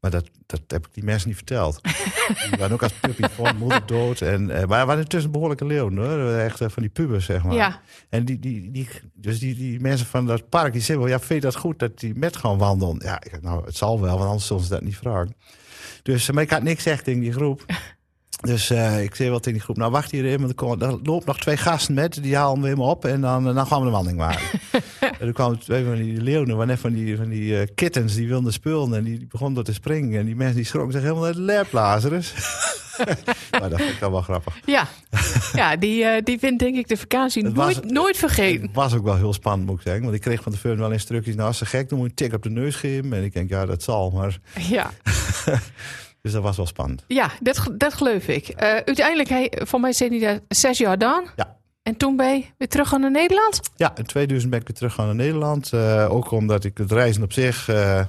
[SPEAKER 1] Maar dat, dat heb ik die mensen niet verteld. die waren ook als puppy van moeder dood. En, eh, maar er waren intussen behoorlijke leeuwen hoor. Echt eh, van die pubers, zeg maar.
[SPEAKER 2] Ja.
[SPEAKER 1] En die, die, die, dus die, die mensen van dat park, die zeggen wel... Ja, vind je dat goed dat die met gaan wandelen? Ja, ik, nou, het zal wel, want anders zullen ze dat niet vragen. Dus, eh, maar ik had niks echt in die groep. Dus eh, ik zei wel tegen die groep, nou wacht hier even, want er, komen- er lopen nog twee gasten met, die halen we helemaal op en dan, eh, dan gaan we de wandeling maken. en toen kwamen twee van die leeuwen, maar net van die, van die eh, kittens, die wilden spullen en die, die begonnen door te springen. En die mensen die schrokken zich helemaal uit de lab, Lazarus. maar dat vind ik dan wel grappig.
[SPEAKER 2] Ja, ja die, eh, die vindt denk ik de vakantie
[SPEAKER 1] Het was-
[SPEAKER 2] nooit, nooit vergeten.
[SPEAKER 1] Het was ook wel heel spannend, moet ik zeggen, want ik kreeg van de firm wel instructies, nou als ze gek doen moet je een tik op de neus geven. En ik denk, ja dat zal, maar
[SPEAKER 2] Ja,
[SPEAKER 1] dus dat was wel spannend.
[SPEAKER 2] ja dat, ge- dat geloof ik. Eh, uiteindelijk, hij, voor mij zijn die daar zes jaar dan.
[SPEAKER 1] Ja.
[SPEAKER 2] En toen ben je weer terug naar Nederland.
[SPEAKER 1] Ja, in 2000 ben ik weer teruggegaan naar Nederland. Eh, ook omdat ik het reizen op zich... eh,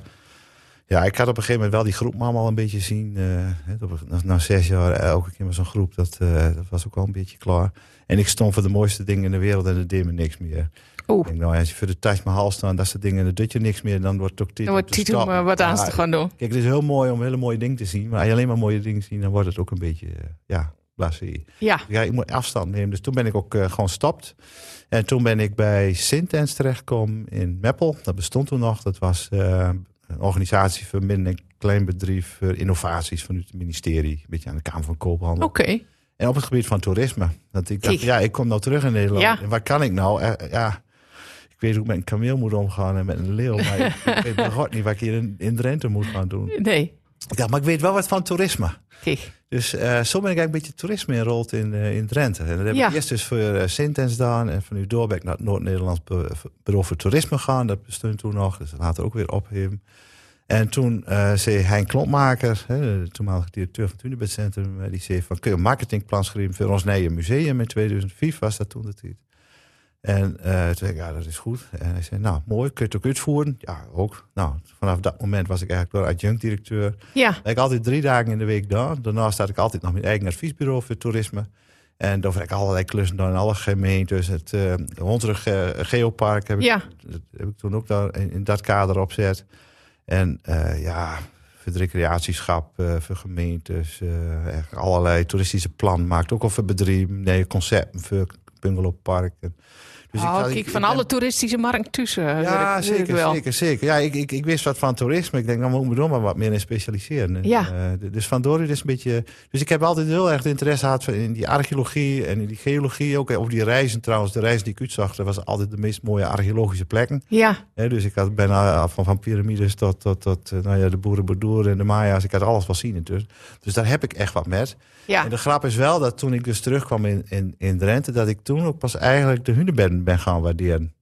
[SPEAKER 1] ja, ik had op een gegeven moment wel die groep mama al een beetje zien. eh, hè, dat we- na, na zes jaar eh, elke keer maar zo'n groep. Dat, eh, dat was ook wel een beetje klaar. En ik stond voor de mooiste dingen in de wereld en dat deed me niks meer. Ik
[SPEAKER 2] Oeh,
[SPEAKER 1] denk, nou, als je voor de Taj Mahal staat, dat soort dingen, en dat doet je niks meer. Dan wordt het ook tijd
[SPEAKER 2] dan
[SPEAKER 1] om
[SPEAKER 2] wordt
[SPEAKER 1] te
[SPEAKER 2] Tito
[SPEAKER 1] stoppen.
[SPEAKER 2] maar wat aan
[SPEAKER 1] Ja,
[SPEAKER 2] te gaan doen.
[SPEAKER 1] Kijk, het is heel mooi om hele mooie dingen te zien. Maar als je alleen maar mooie dingen ziet, dan wordt het ook een beetje, eh, ja, blasé.
[SPEAKER 2] Ja,
[SPEAKER 1] Ja, ik moet afstand nemen. Dus toen ben ik ook eh, gewoon gestapt. En toen ben ik bij Sintens terechtgekomen in Meppel. Dat bestond toen nog. Dat was eh, een organisatie voor min- en kleinbedrijf voor innovaties vanuit het ministerie. Een beetje aan de Kamer van Koophandel.
[SPEAKER 2] oké.
[SPEAKER 1] En op het gebied van toerisme. Dat ik dacht,
[SPEAKER 2] Ik.
[SPEAKER 1] ja, ik kom nou terug in Nederland.
[SPEAKER 2] Ja.
[SPEAKER 1] En waar kan ik nou? Eh, ja, ik weet hoe ik met een kameel moet omgaan en met een leeuw. Maar ik, ik weet bij God niet wat ik hier in, in Drenthe moet gaan doen.
[SPEAKER 2] Nee,
[SPEAKER 1] Ik dacht, maar ik weet wel wat van toerisme.
[SPEAKER 2] kijk.
[SPEAKER 1] Dus eh, zo ben ik eigenlijk een beetje toerisme enrold in, eh, in Drenthe. En dat heb
[SPEAKER 2] Ja.
[SPEAKER 1] ik eerst dus voor eh Sintens gedaan. En van nu door ben ik naar het Noord-Nederlands Be- Bureau voor Toerisme gegaan. Dat bestond toen nog, dus later ook weer opheven. En toen eh, zei Hein Klopmaker, hè, de toenmalige directeur van het Unibedcentrum... eh, die zei van, kun je een marketingplan schrijven voor ons nieuwe museum? In 2005 was dat toen de tijd. En eh, toen zei ik, ja, dat is goed. En hij zei, nou, mooi, kun je het ook uitvoeren? Ja, ook. Nou, vanaf dat moment was ik eigenlijk door adjunct-directeur...
[SPEAKER 2] Ja,
[SPEAKER 1] Ben ik altijd drie dagen in de week daar. Daarna staat ik altijd nog mijn eigen adviesbureau voor toerisme. En daar werk ik allerlei klussen dan in alle gemeentes. Het eh Hondsrug eh, Geopark heb ik,
[SPEAKER 2] ja.
[SPEAKER 1] dat heb ik toen ook daar in, in dat kader opzet. En eh, ja, voor het recreatieschap, eh, voor gemeentes. eh, echt allerlei toeristische plan maakt. Ook al voor bedrijven, nee, concepten voor bungalowparken. Dus
[SPEAKER 2] oh,
[SPEAKER 1] ga-
[SPEAKER 2] kijk, van
[SPEAKER 1] ben-
[SPEAKER 2] alle toeristische markt tussen.
[SPEAKER 1] ja,
[SPEAKER 2] eh, werk- werk
[SPEAKER 1] zeker,
[SPEAKER 2] wel.
[SPEAKER 1] zeker, zeker. Ja, ik, ik, ik wist wat van toerisme. Ik denk, nou, dan moet ik me er maar wat meer in specialiseren.
[SPEAKER 2] Ja.
[SPEAKER 1] Eh, d- dus vandoor is een beetje... Dus ik heb altijd heel erg de interesse gehad van- in die archeologie en in die geologie. Ook op die reizen trouwens. De reizen die ik uitzag, dat was altijd de meest mooie archeologische plekken.
[SPEAKER 2] Ja,
[SPEAKER 1] Hè, dus ik had bijna van, van piramides tot, tot, tot eh, nou ja, de boerenboerdoer en de Maya's. Ik had alles wel zien intussen. Dus daar heb ik echt wat met.
[SPEAKER 2] ja.
[SPEAKER 1] En de grap is wel dat toen ik dus terugkwam in, in, in Drenthe, dat ik toen ook pas eigenlijk de hunebedden ben gaan waarderen.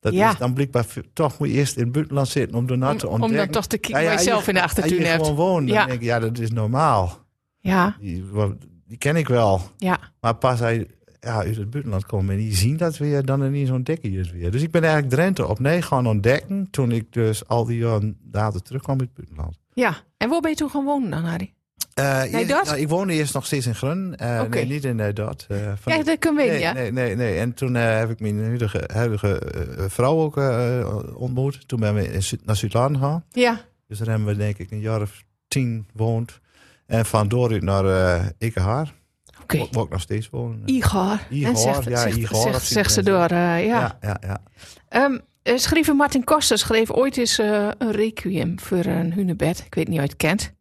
[SPEAKER 1] Dat
[SPEAKER 2] Ja.
[SPEAKER 1] is dan blijkbaar v- toch moet je eerst in het buitenland zitten om daarna te
[SPEAKER 2] Om, om
[SPEAKER 1] ontdekken.
[SPEAKER 2] dan toch te
[SPEAKER 1] Ja,
[SPEAKER 2] kijken
[SPEAKER 1] ja,
[SPEAKER 2] waar je
[SPEAKER 1] als je-
[SPEAKER 2] zelf in de
[SPEAKER 1] Als je
[SPEAKER 2] achtertuin hebt.
[SPEAKER 1] gewoon woont, dan
[SPEAKER 2] Ja.
[SPEAKER 1] denk ik, ja, dat is normaal.
[SPEAKER 2] Ja,
[SPEAKER 1] Die, wa- die ken ik wel.
[SPEAKER 2] ja.
[SPEAKER 1] Maar pas als je ja, uit het buitenland komt en die zien dat weer, dan in zo'n dekkie is weer. Dus ik ben eigenlijk Drenthe op nee gaan ontdekken toen ik dus al die jaren later terugkwam uit het buitenland.
[SPEAKER 2] ja. En waar ben je toen gaan wonen dan, Harry?
[SPEAKER 1] Eh,
[SPEAKER 2] Nijdort?
[SPEAKER 1] nou, ik woonde eerst nog steeds in Grun. Eh,
[SPEAKER 2] Oké.
[SPEAKER 1] Nee, niet in Nijdort. Eh, van-
[SPEAKER 2] Ja, dat kan
[SPEAKER 1] nee,
[SPEAKER 2] weten, ja.
[SPEAKER 1] nee, nee, nee. En toen eh, heb ik mijn huidige, huidige eh, vrouw ook eh, ontmoet. Toen ben we in Zuid- naar Zuid-Laren gegaan.
[SPEAKER 2] Ja,
[SPEAKER 1] Dus daar hebben we denk ik een jaar of tien woond. En van Doorut naar eh Ekenhaar.
[SPEAKER 2] oké.
[SPEAKER 1] Wo- Waar ik nog steeds woon.
[SPEAKER 2] Igor.
[SPEAKER 1] Igor,
[SPEAKER 2] En zegt,
[SPEAKER 1] ja,
[SPEAKER 2] zegt,
[SPEAKER 1] Igor,
[SPEAKER 2] zegt,
[SPEAKER 1] dat
[SPEAKER 2] zegt ze
[SPEAKER 1] vindt men
[SPEAKER 2] door, eh, ja.
[SPEAKER 1] ja, ja. ja.
[SPEAKER 2] Ehm, eh, schrijver Martin Koster schreef ooit eens eh, een requiem voor een hunebed. Ik weet niet of je het kent.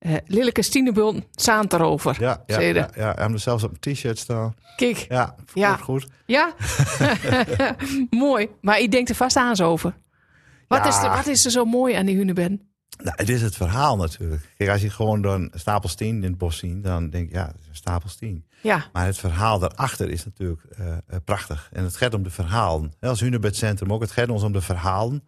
[SPEAKER 2] Eh Lilleke Stienebult zaant erover.
[SPEAKER 1] Ja, ja,
[SPEAKER 2] Zie je
[SPEAKER 1] ja,
[SPEAKER 2] dat?
[SPEAKER 1] ja, Hij heeft hem zelfs op een t-shirt staan.
[SPEAKER 2] Kijk,
[SPEAKER 1] Ja, goed,
[SPEAKER 2] Ja.
[SPEAKER 1] goed.
[SPEAKER 2] ja? mooi. Maar ik denk er vast aan zo over. Wat,
[SPEAKER 1] Ja.
[SPEAKER 2] is er, wat is er zo mooi aan die hunebed?
[SPEAKER 1] Nou, het is het verhaal natuurlijk. Kijk, als je gewoon dan stapels 10 in het bos ziet, dan denk je, ja, het is een stapels 10.
[SPEAKER 2] Ja,
[SPEAKER 1] Maar het verhaal daarachter is natuurlijk eh, eh, prachtig. En het gaat om de verhalen. Hè, Als Hunebedcentrum ook, het gaat ons om de verhalen.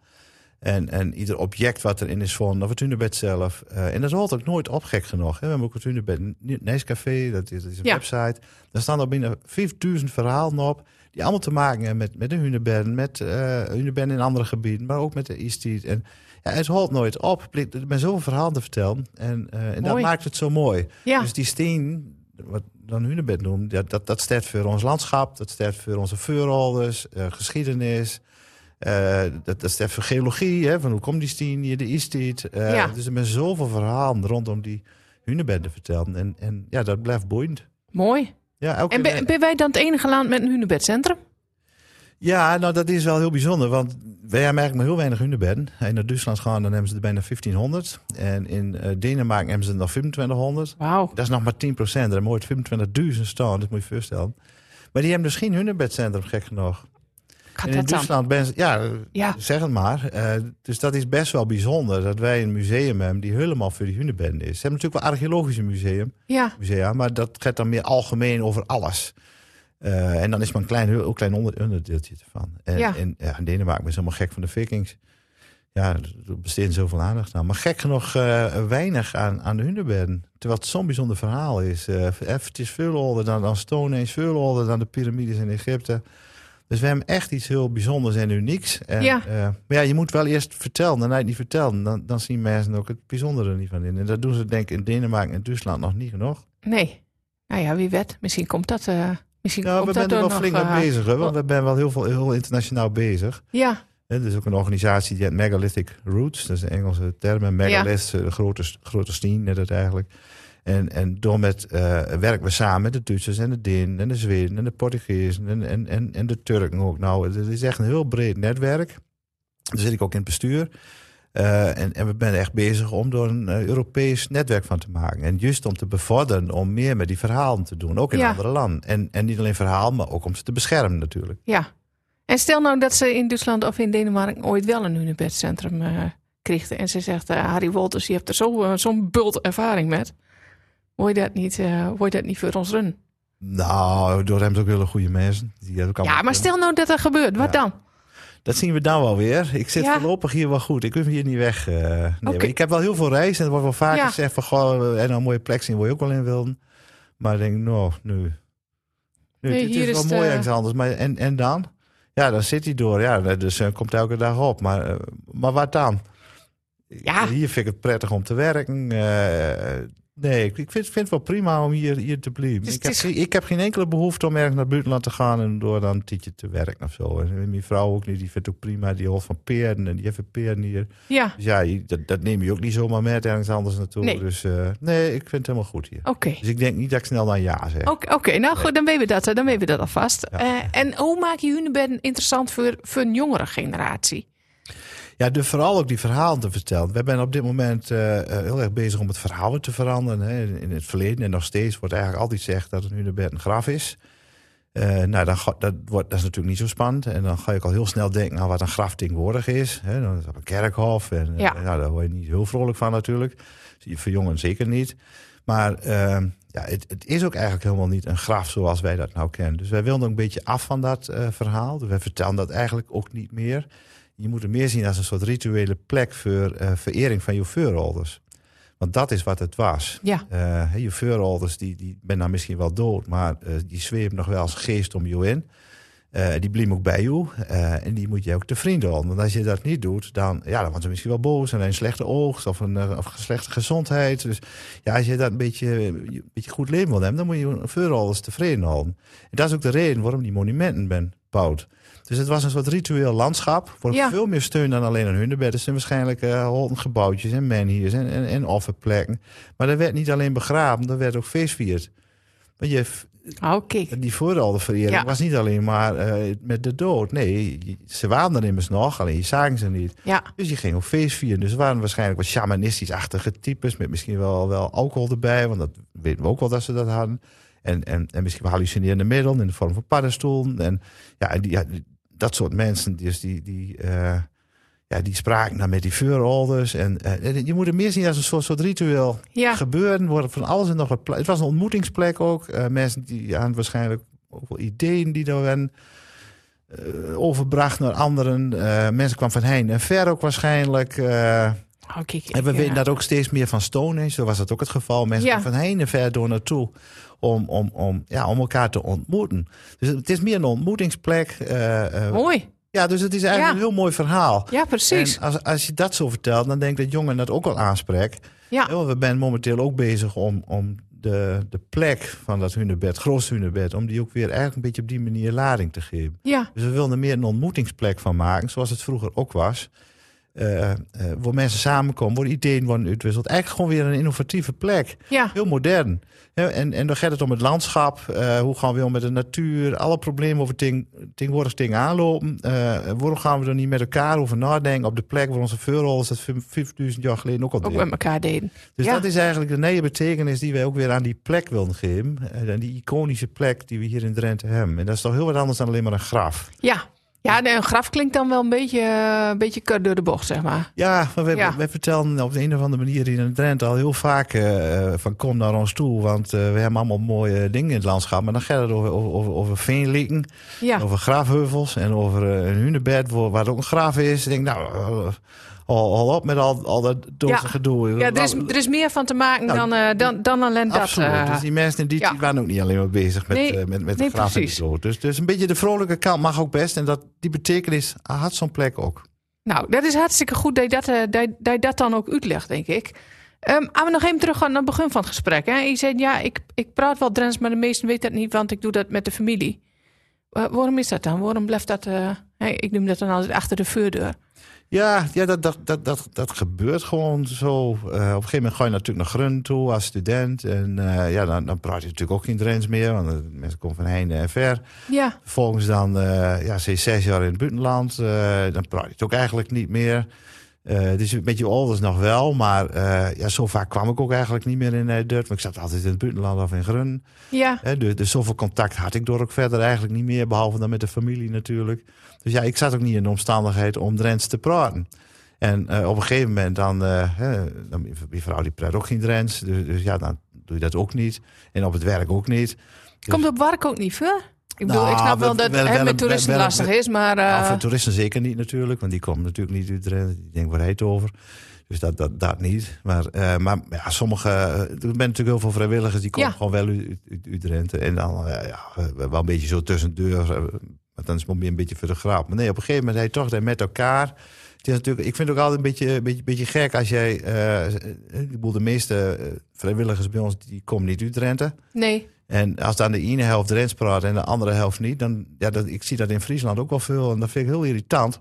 [SPEAKER 1] En, en ieder object wat erin is van, of het Hunebed zelf. Eh, en dat hoort ook nooit op, gek genoeg. Hè. We hebben ook het Hunebed Nijscafé, dat is, dat is een
[SPEAKER 2] Ja.
[SPEAKER 1] website. Daar staan al binnen 5000 verhalen op. Die allemaal te maken hebben met, met de Hunebedden, met eh Hunebedden in andere gebieden, maar ook met de East En ja, het hoort nooit op. Er zijn zoveel verhalen te vertellen. En, eh, en dat
[SPEAKER 2] Mooi.
[SPEAKER 1] maakt het zo mooi.
[SPEAKER 2] ja.
[SPEAKER 1] Dus die steen, wat dan Hunebed noemt, dat, dat, dat staat voor ons landschap, dat staat voor onze voorouders, eh, geschiedenis. eh, dat, dat staat voor geologie, hè, van hoe komt die steen hier, de is dit. eh,
[SPEAKER 2] Ja.
[SPEAKER 1] Dus er zijn zoveel verhalen rondom die Hunebed te vertellen. En, en ja, dat blijft boeiend.
[SPEAKER 2] mooi.
[SPEAKER 1] Ja, elke
[SPEAKER 2] En
[SPEAKER 1] keer-
[SPEAKER 2] ben, ben wij dan het enige land met een hunebedcentrum?
[SPEAKER 1] ja, nou dat is wel heel bijzonder, want wij hebben eigenlijk maar heel weinig hunebedden. En naar Duitsland gaan, dan hebben ze er bijna 1500. En in eh, Denemarken hebben ze er nog 2500.
[SPEAKER 2] Wauw.
[SPEAKER 1] Dat is nog maar 10 procent. Er moet 25.000 staan, dat moet je voorstellen. Maar die hebben dus geen hunebedcentrum, gek genoeg. En
[SPEAKER 2] Gaat
[SPEAKER 1] in
[SPEAKER 2] dat dan?
[SPEAKER 1] Duitsland, ben, ze- ja,
[SPEAKER 2] Ja,
[SPEAKER 1] zeg het maar. Eh, dus dat is best wel bijzonder dat wij een museum hebben die helemaal voor die hunebedden is. Ze hebben natuurlijk wel een archeologische museum,
[SPEAKER 2] ja.
[SPEAKER 1] musea, maar dat gaat dan meer algemeen over alles. Eh, en dan is maar een klein, heel klein onder, onderdeeltje ervan. En,
[SPEAKER 2] Ja.
[SPEAKER 1] en ja, in Denemarken is helemaal gek van de vikings. Ja, er besteedt zoveel aandacht aan. Maar gek genoeg eh, weinig aan, aan de hunebedden. Terwijl het zo'n bijzonder verhaal is. Eh, het is veel ouder dan, dan Stonehenge, veel ouder dan de piramides in Egypte. Dus we hebben echt iets heel bijzonders en unieks. En,
[SPEAKER 2] Ja.
[SPEAKER 1] eh, maar ja, je moet wel eerst vertellen. Daarna het niet vertellen, dan, dan zien mensen ook het bijzondere er niet van in. En dat doen ze denk ik in Denemarken en Duitsland nog niet genoeg.
[SPEAKER 2] Nee. Nou ja, wie weet. Misschien komt dat... eh misschien
[SPEAKER 1] Ja, Nou,
[SPEAKER 2] komt
[SPEAKER 1] we zijn
[SPEAKER 2] dat
[SPEAKER 1] er wel
[SPEAKER 2] er nog,
[SPEAKER 1] flink mee
[SPEAKER 2] eh,
[SPEAKER 1] bezig. Hè? Want we zijn wel heel, veel, heel internationaal bezig.
[SPEAKER 2] Ja,
[SPEAKER 1] Hè, Er is ook een organisatie die heet Megalithic Roots. Dat is een Engelse term. En megalith, eh, grote, grote steen net het eigenlijk. En, en door met eh, werken we samen met de Duitsers en de Denen en de Zweden en de Portugezen en, en, en, en de Turken ook. Nou, het is echt een heel breed netwerk. Daar zit ik ook in het bestuur. Eh, en, en we zijn echt bezig om er een eh, Europees netwerk van te maken. En juist om te bevorderen om meer met die verhalen te doen, ook in
[SPEAKER 2] Ja.
[SPEAKER 1] andere landen. En, en niet alleen verhalen, maar ook om ze te beschermen natuurlijk.
[SPEAKER 2] ja. En stel nou dat ze in Duitsland of in Denemarken ooit wel een hunebedcentrum eh kregen. En ze zegt, eh, Harry Wolters, je hebt er zo, eh, zo'n bult ervaring met. Word je dat niet, eh word je dat niet voor ons runnen?
[SPEAKER 1] Nou, door hem ook hele goede mensen. Die hebben ook allemaal
[SPEAKER 2] Ja, maar stel nou dat dat gebeurt. Wat
[SPEAKER 1] Ja.
[SPEAKER 2] dan?
[SPEAKER 1] Dat zien we dan wel weer. Ik zit
[SPEAKER 2] Ja.
[SPEAKER 1] voorlopig hier wel goed. Ik hoef hier niet weg. eh, nee, maar
[SPEAKER 2] Oké.
[SPEAKER 1] Ik heb wel heel veel reis en er wordt wel vaker
[SPEAKER 2] Ja.
[SPEAKER 1] gezegd van goh, en een mooie plek zien wil je ook wel in wilden. Maar ik denk, nou, nu. nu
[SPEAKER 2] Nee,
[SPEAKER 1] het
[SPEAKER 2] hier
[SPEAKER 1] is wel
[SPEAKER 2] is eh,
[SPEAKER 1] mooi
[SPEAKER 2] de-
[SPEAKER 1] ergens anders. Maar en, en dan? Ja, dan zit hij door. Ja, de zon komt elke dag op. Maar, eh, maar wat dan?
[SPEAKER 2] Ja.
[SPEAKER 1] Hier vind ik het prettig om te werken. eh, nee, ik ik vind, vind het wel prima om hier, hier te blijven.
[SPEAKER 2] Dus
[SPEAKER 1] ik,
[SPEAKER 2] het
[SPEAKER 1] heb,
[SPEAKER 2] is-
[SPEAKER 1] geen- ik heb geen enkele behoefte om ergens naar het buitenland te gaan en door dan een tijdje te werken of zo. En mijn vrouw ook niet, die vindt het ook prima. Die holt van peren en die heeft een peren hier.
[SPEAKER 2] Ja,
[SPEAKER 1] Dus ja, je- dat, dat neem je ook niet zomaar met ergens anders naartoe.
[SPEAKER 2] Nee.
[SPEAKER 1] Dus eh, nee, ik vind het helemaal goed hier.
[SPEAKER 2] oké.
[SPEAKER 1] Dus ik denk niet dat ik snel dan ja zeg.
[SPEAKER 2] Oké, oké, nou goed, dan weten we dat, eh, dan weten we dat alvast.
[SPEAKER 1] Ja.
[SPEAKER 2] Eh, en hoe maak je hunebedden interessant voor, voor een jongere generatie?
[SPEAKER 1] Ja, de, vooral ook die verhalen te vertellen. We zijn op dit moment eh, eh, heel erg bezig om het verhaal te veranderen. Hè. In- In het verleden en nog steeds wordt eigenlijk altijd gezegd dat het nu de bed een graf is. Eh, nou, dan ga- dat, wordt, dat is natuurlijk niet zo spannend. En dan ga ik al heel snel denken aan wat een graf tegenwoordig is. Hè. Dan is het op een kerkhof. En, eh,
[SPEAKER 2] Ja.
[SPEAKER 1] nou, daar word je niet heel vrolijk van natuurlijk. Dus Voor jongeren zeker niet. Maar ehm, ja, het, het is ook eigenlijk helemaal niet een graf zoals wij dat nou kennen. Dus wij wilden ook een beetje af van dat eh, verhaal. Wij vertellen dat eigenlijk ook niet meer. Je moet het meer zien als een soort rituele plek voor eh, verering van je voorouders. Want dat is wat het was.
[SPEAKER 2] Ja,
[SPEAKER 1] Eh, hè, je voorouders, die, die ben dan misschien wel dood, maar eh, die zweept nog wel als geest om je in. Eh, die blijft ook bij jou eh, en die moet je ook te vrienden houden. Want als je dat niet doet, dan, ja, dan worden ze misschien wel boos. En een slechte oogst of een eh, of slechte gezondheid. Dus ja, als je dat een beetje, een beetje goed leven wil hebben, dan moet je vooral alles tevreden houden. En dat is ook de reden waarom die monumenten ben gebouwd. Dus het was een soort ritueel landschap. Voor
[SPEAKER 2] Ja.
[SPEAKER 1] veel meer steun dan alleen een hunebed. Er zijn waarschijnlijk eh holten gebouwtjes en menhirs en, en, en offerplekken. Maar er werd niet alleen begraven, er werd ook feestvierd. Want je,
[SPEAKER 2] Oh, kijk.
[SPEAKER 1] die voorouderverering
[SPEAKER 2] Ja.
[SPEAKER 1] was niet alleen maar eh, met de dood. Nee, je- ze waren er immers nog, alleen je zagen ze niet.
[SPEAKER 2] Ja,
[SPEAKER 1] Dus je ging op feest vieren. Dus er waren waarschijnlijk wat shamanistisch-achtige types... met misschien wel, wel alcohol erbij, want dat weten we ook wel dat ze dat hadden. En, en, en misschien wel hallucinerende middelen in de vorm van paddenstoelen. En, ja, en die, ja, die- dat soort mensen, dus die... die eh, ja, die spraken dan met die vuurolders. En, eh, en je moet het meer zien als een soort, soort ritueel
[SPEAKER 2] ja.
[SPEAKER 1] gebeuren. Worden van alles en nog wat. pla- Het was een ontmoetingsplek ook. Eh, mensen die aan waarschijnlijk ook wel ideeën die daar werden eh, overbracht naar anderen. Eh, mensen kwamen van heen en ver ook waarschijnlijk. Eh,
[SPEAKER 2] Oh, kijk.
[SPEAKER 1] en we
[SPEAKER 2] ja.
[SPEAKER 1] weten dat ook steeds meer van Stonehenge. Zo was dat ook het geval. Mensen
[SPEAKER 2] Ja.
[SPEAKER 1] kwamen van heen en ver door naartoe. Om, om, om, ja, om elkaar te ontmoeten. Dus het is meer een ontmoetingsplek. eh, eh,
[SPEAKER 2] Mooi.
[SPEAKER 1] ja, dus het is eigenlijk
[SPEAKER 2] Ja.
[SPEAKER 1] een heel mooi verhaal.
[SPEAKER 2] Ja, precies.
[SPEAKER 1] En als, als je dat zo vertelt, dan denk ik dat jongeren dat ook wel aanspreekt.
[SPEAKER 2] Ja.
[SPEAKER 1] Ja, want we zijn momenteel ook bezig om, om de, de plek van dat hunebed, gros hunebed, om die ook weer eigenlijk een beetje op die manier lading te geven.
[SPEAKER 2] Ja,
[SPEAKER 1] Dus we wilden er meer een ontmoetingsplek van maken, zoals het vroeger ook was. Eh, eh, waar mensen samenkomen, waar ideeën worden uitwisseld. Eigenlijk gewoon weer een innovatieve plek.
[SPEAKER 2] ja.
[SPEAKER 1] Heel modern. Hè, En, en dan gaat het om het landschap. eh, hoe gaan we om met de natuur? Alle problemen over ting, tegenwoordig ting aanlopen. Eh, waarom gaan we er niet met elkaar over nadenken op de plek waar onze veurrollers dat 5000 jaar geleden ook al
[SPEAKER 2] Ook
[SPEAKER 1] deden?
[SPEAKER 2] met elkaar deden.
[SPEAKER 1] Dus
[SPEAKER 2] Ja.
[SPEAKER 1] dat is eigenlijk de nieuwe betekenis die wij ook weer aan die plek willen geven. En aan die iconische plek die we hier in Drenthe hebben. En dat is toch heel wat anders dan alleen maar een graf.
[SPEAKER 2] Ja. Ja, nee, een graf klinkt dan wel een beetje, eh, een beetje kort door de bocht, zeg maar.
[SPEAKER 1] Ja, maar wij,
[SPEAKER 2] Ja.
[SPEAKER 1] wij vertellen op de een of andere manier hier in Drenthe al heel vaak eh, van kom naar ons toe. Want eh, we hebben allemaal mooie dingen in het landschap. Maar dan gaat het over, over, over, over veenlikken,
[SPEAKER 2] Ja,
[SPEAKER 1] over grafheuvels en over eh, een hunebed waar, waar ook een graf is. Ik denk nou, eh, al, al op met al, al dat doodse
[SPEAKER 2] Ja.
[SPEAKER 1] gedoe.
[SPEAKER 2] ja er, is, er is meer van te maken
[SPEAKER 1] Nou,
[SPEAKER 2] dan, eh, dan, dan alleen dat.
[SPEAKER 1] Absoluut.
[SPEAKER 2] eh,
[SPEAKER 1] dus die mensen in die
[SPEAKER 2] ja.
[SPEAKER 1] tijd waren ook niet alleen maar bezig met,
[SPEAKER 2] Nee,
[SPEAKER 1] eh, met, met
[SPEAKER 2] nee,
[SPEAKER 1] de graf en
[SPEAKER 2] precies.
[SPEAKER 1] de dood. Dus, dus een beetje de vrolijke kant mag ook best. En dat, die betekenis had zo'n plek ook.
[SPEAKER 2] Nou, dat is hartstikke goed dat je dat, eh, dat, dat, je dat dan ook uitlegt, denk ik. Ehm maar we nog even terug gaan naar het begin van het gesprek. Hè? Je zei, ja, ik, ik praat wel Drents, maar de meesten weten dat niet, want ik doe dat met de familie. Wa- waarom is dat dan? Waarom blijft dat... eh, hè, ik noem dat dan altijd achter de voordeur.
[SPEAKER 1] Ja, ja dat, dat, dat, dat, dat gebeurt gewoon zo. Eh, op een gegeven moment ga je natuurlijk naar Grun toe als student. En eh, ja, dan, dan praat je natuurlijk ook geen Drents meer. Want eh, mensen komen van heen en ver.
[SPEAKER 2] Ja,
[SPEAKER 1] Vervolgens dan eh ja, sinds zes jaar in het buitenland. eh, dan praat je het ook eigenlijk niet meer. Eh dus een beetje ouders nog wel. Maar eh, ja, zo vaak kwam ik ook eigenlijk niet meer in Nederland. Want ik zat altijd in het buitenland of in Grun.
[SPEAKER 2] ja,
[SPEAKER 1] Hè, dus, dus zoveel contact had ik door ook verder eigenlijk niet meer, behalve dan met de familie natuurlijk. Dus ja, ik zat ook niet in de omstandigheid om Drents te praten. En eh, op een gegeven moment dan, eh, hè, dan die vrouw die praat ook geen Drents, dus, dus ja, dan doe je dat ook niet. En op het werk ook niet.
[SPEAKER 2] komt op Wark ook niet voor? Ik bedoel,
[SPEAKER 1] Nou,
[SPEAKER 2] ik snap wel
[SPEAKER 1] wel-
[SPEAKER 2] dat
[SPEAKER 1] wel-
[SPEAKER 2] het
[SPEAKER 1] wel-
[SPEAKER 2] met toeristen
[SPEAKER 1] wel- wel-
[SPEAKER 2] lastig is, maar... eh,
[SPEAKER 1] Ja, voor toeristen zeker niet natuurlijk, want die komen natuurlijk niet uit Drenthe. Die denken, waar heet het over? Dus dat, dat, dat niet. Maar, eh, maar ja, sommige... eh, Er zijn natuurlijk heel veel vrijwilligers die komen
[SPEAKER 2] Ja.
[SPEAKER 1] gewoon wel uit, uit, uit Drenthe. En dan eh, ja, eh, wel een beetje zo tussendoor. eh, Want dan is het weer een beetje voor de grap. Maar nee, op een gegeven moment, hij toch dat met elkaar... Het is natuurlijk, ik vind het ook altijd een beetje, een beetje, een beetje gek als jij... eh, ik bedoel, de meeste eh, vrijwilligers bij ons, die komen niet uit Drenthe.
[SPEAKER 2] nee,
[SPEAKER 1] En als dan de ene helft Drents praat en de andere helft niet, dan ja, dat, ik zie dat in Friesland ook wel veel. En dat vind ik heel irritant.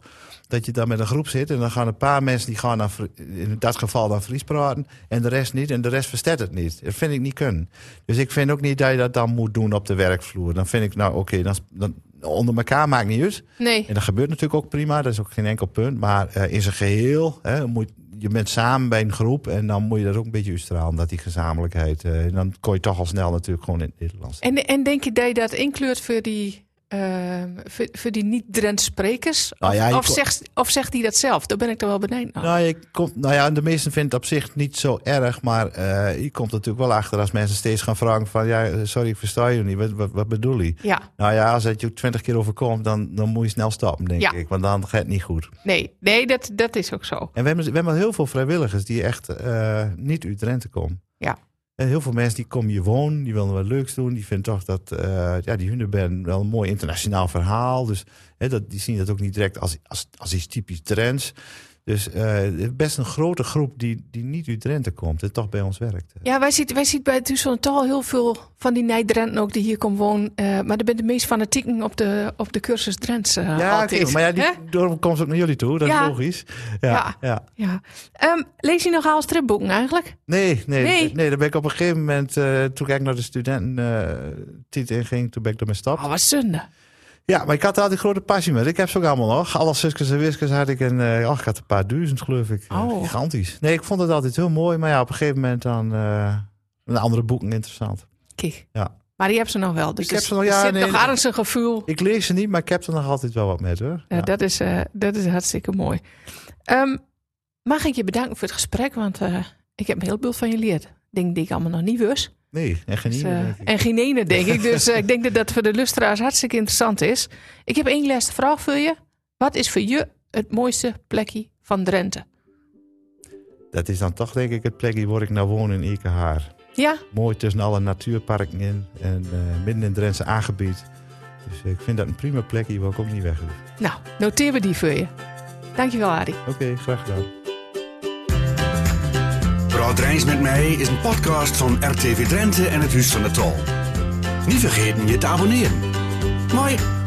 [SPEAKER 1] Dat je dan met een groep zit en dan gaan een paar mensen die gaan dan Fri- in dat geval dan Fries praten en de rest niet. En de rest verstaat het niet. Dat vind ik niet kunnen. Dus ik vind ook niet dat je dat dan moet doen op de werkvloer. Dan vind ik, nou oké, dan, dan onder elkaar maakt niet uit.
[SPEAKER 2] nee,
[SPEAKER 1] En dat gebeurt natuurlijk ook prima, dat is ook geen enkel punt. Maar eh, in zijn geheel, hè, moet, je bent samen bij een groep en dan moet je dat ook een beetje uitstralen, dat die gezamenlijkheid. eh, en dan kon je toch al snel natuurlijk gewoon in het Nederlands.
[SPEAKER 2] En, en denk je dat je dat inkleurt voor die, ehm, voor, voor die niet-Drents sprekers?
[SPEAKER 1] Nou ja, je
[SPEAKER 2] of, of,
[SPEAKER 1] kon-
[SPEAKER 2] zegt, of zegt hij dat zelf? Daar ben ik dan wel benieuwd naar.
[SPEAKER 1] Nou, je komt, nou ja, de meesten vinden het op zich niet zo erg, maar eh, je komt er natuurlijk wel achter als mensen steeds gaan vragen van, ja, eh, sorry, ik versta je niet, wat, wat, wat bedoel je?
[SPEAKER 2] Ja,
[SPEAKER 1] Nou ja, als het je twintig keer overkomt, dan, dan moet je snel stappen, denk
[SPEAKER 2] Ja.
[SPEAKER 1] ik, want dan gaat het niet goed.
[SPEAKER 2] nee, nee dat, dat is ook zo.
[SPEAKER 1] En we hebben, we hebben heel veel vrijwilligers die echt eh, niet uit Drenthe komen.
[SPEAKER 2] Ja.
[SPEAKER 1] Hè, En heel veel mensen die komen hier wonen, die willen wat leuks doen. Die vinden toch dat eh, ja, die huneband wel een mooi internationaal verhaal. Dus hè, dat, die zien dat ook niet direct als, als, als iets typisch trends. Dus eh, best een grote groep die, die niet uit Drenthe komt en toch bij ons werkt.
[SPEAKER 2] Ja, wij zien wij ziet bij het Huis van het Tal heel veel van die Nijdrenten ook die hier komen wonen. Eh, maar er zijn de meest fanatieken op de, op de cursus Drents eh,
[SPEAKER 1] Ja,
[SPEAKER 2] altijd.
[SPEAKER 1] oké, maar ja,
[SPEAKER 2] hè?
[SPEAKER 1] die, daarom komt ze ook naar jullie toe, dat
[SPEAKER 2] Ja.
[SPEAKER 1] is logisch.
[SPEAKER 2] Ja.
[SPEAKER 1] ja. ja.
[SPEAKER 2] ja. Ehm, lees je nogal stripboeken eigenlijk?
[SPEAKER 1] Nee, nee,
[SPEAKER 2] Nee?
[SPEAKER 1] nee. daar ben ik op een gegeven moment, eh, toen ik naar de eh, studententiet inging, toen ben ik ermee
[SPEAKER 2] Oh,
[SPEAKER 1] gestapt.
[SPEAKER 2] wat zonde.
[SPEAKER 1] Ja, maar ik had daar altijd grote passie met. Ik heb ze ook allemaal nog. Alle zusjes en wiskers had ik en eh oh, ik had een paar duizend, geloof ik. Eh,
[SPEAKER 2] Oh.
[SPEAKER 1] Gigantisch. Nee, ik vond het altijd heel mooi, maar ja, op een gegeven moment dan eh, een andere boeken interessant.
[SPEAKER 2] Kijk.
[SPEAKER 1] Ja.
[SPEAKER 2] Maar die heb ze nog wel. Dus
[SPEAKER 1] Ik heb
[SPEAKER 2] er
[SPEAKER 1] ze nog- ja,
[SPEAKER 2] zit
[SPEAKER 1] nee,
[SPEAKER 2] nog
[SPEAKER 1] dat-
[SPEAKER 2] ernstig gevoel.
[SPEAKER 1] Ik lees ze niet, maar ik heb er nog altijd wel wat met hoor.
[SPEAKER 2] Ja,
[SPEAKER 1] Ja.
[SPEAKER 2] Dat, is, eh, dat is hartstikke mooi. Ehm, mag ik je bedanken voor het gesprek? Want eh, ik heb een heleboel van je geleerd. Dingen die ik allemaal nog niet wist.
[SPEAKER 1] Nee, en
[SPEAKER 2] Dus,
[SPEAKER 1] geniet.
[SPEAKER 2] eh,
[SPEAKER 1] denk ik.
[SPEAKER 2] en geen ene, denk ik. Dus eh, ik denk dat dat voor de lustra's hartstikke interessant is. Ik heb één laatste vraag voor je. Wat is voor je het mooiste plekje van Drenthe?
[SPEAKER 1] Dat is dan toch denk ik het plekje waar ik nou woon in Ekenhaar.
[SPEAKER 2] Ja,
[SPEAKER 1] mooi tussen alle natuurparken in. En eh, midden in het Drentse aangebied. Dus eh, ik vind dat een prima plekje waar ik ook niet weg wil.
[SPEAKER 2] nou, noteer we die voor je. Dankjewel, Arie.
[SPEAKER 1] Oké, graag gedaan.
[SPEAKER 3] Praat Rijns met mij is een podcast van RTV Drenthe en het Huis van de Tal. Niet vergeten je te abonneren. Mooi.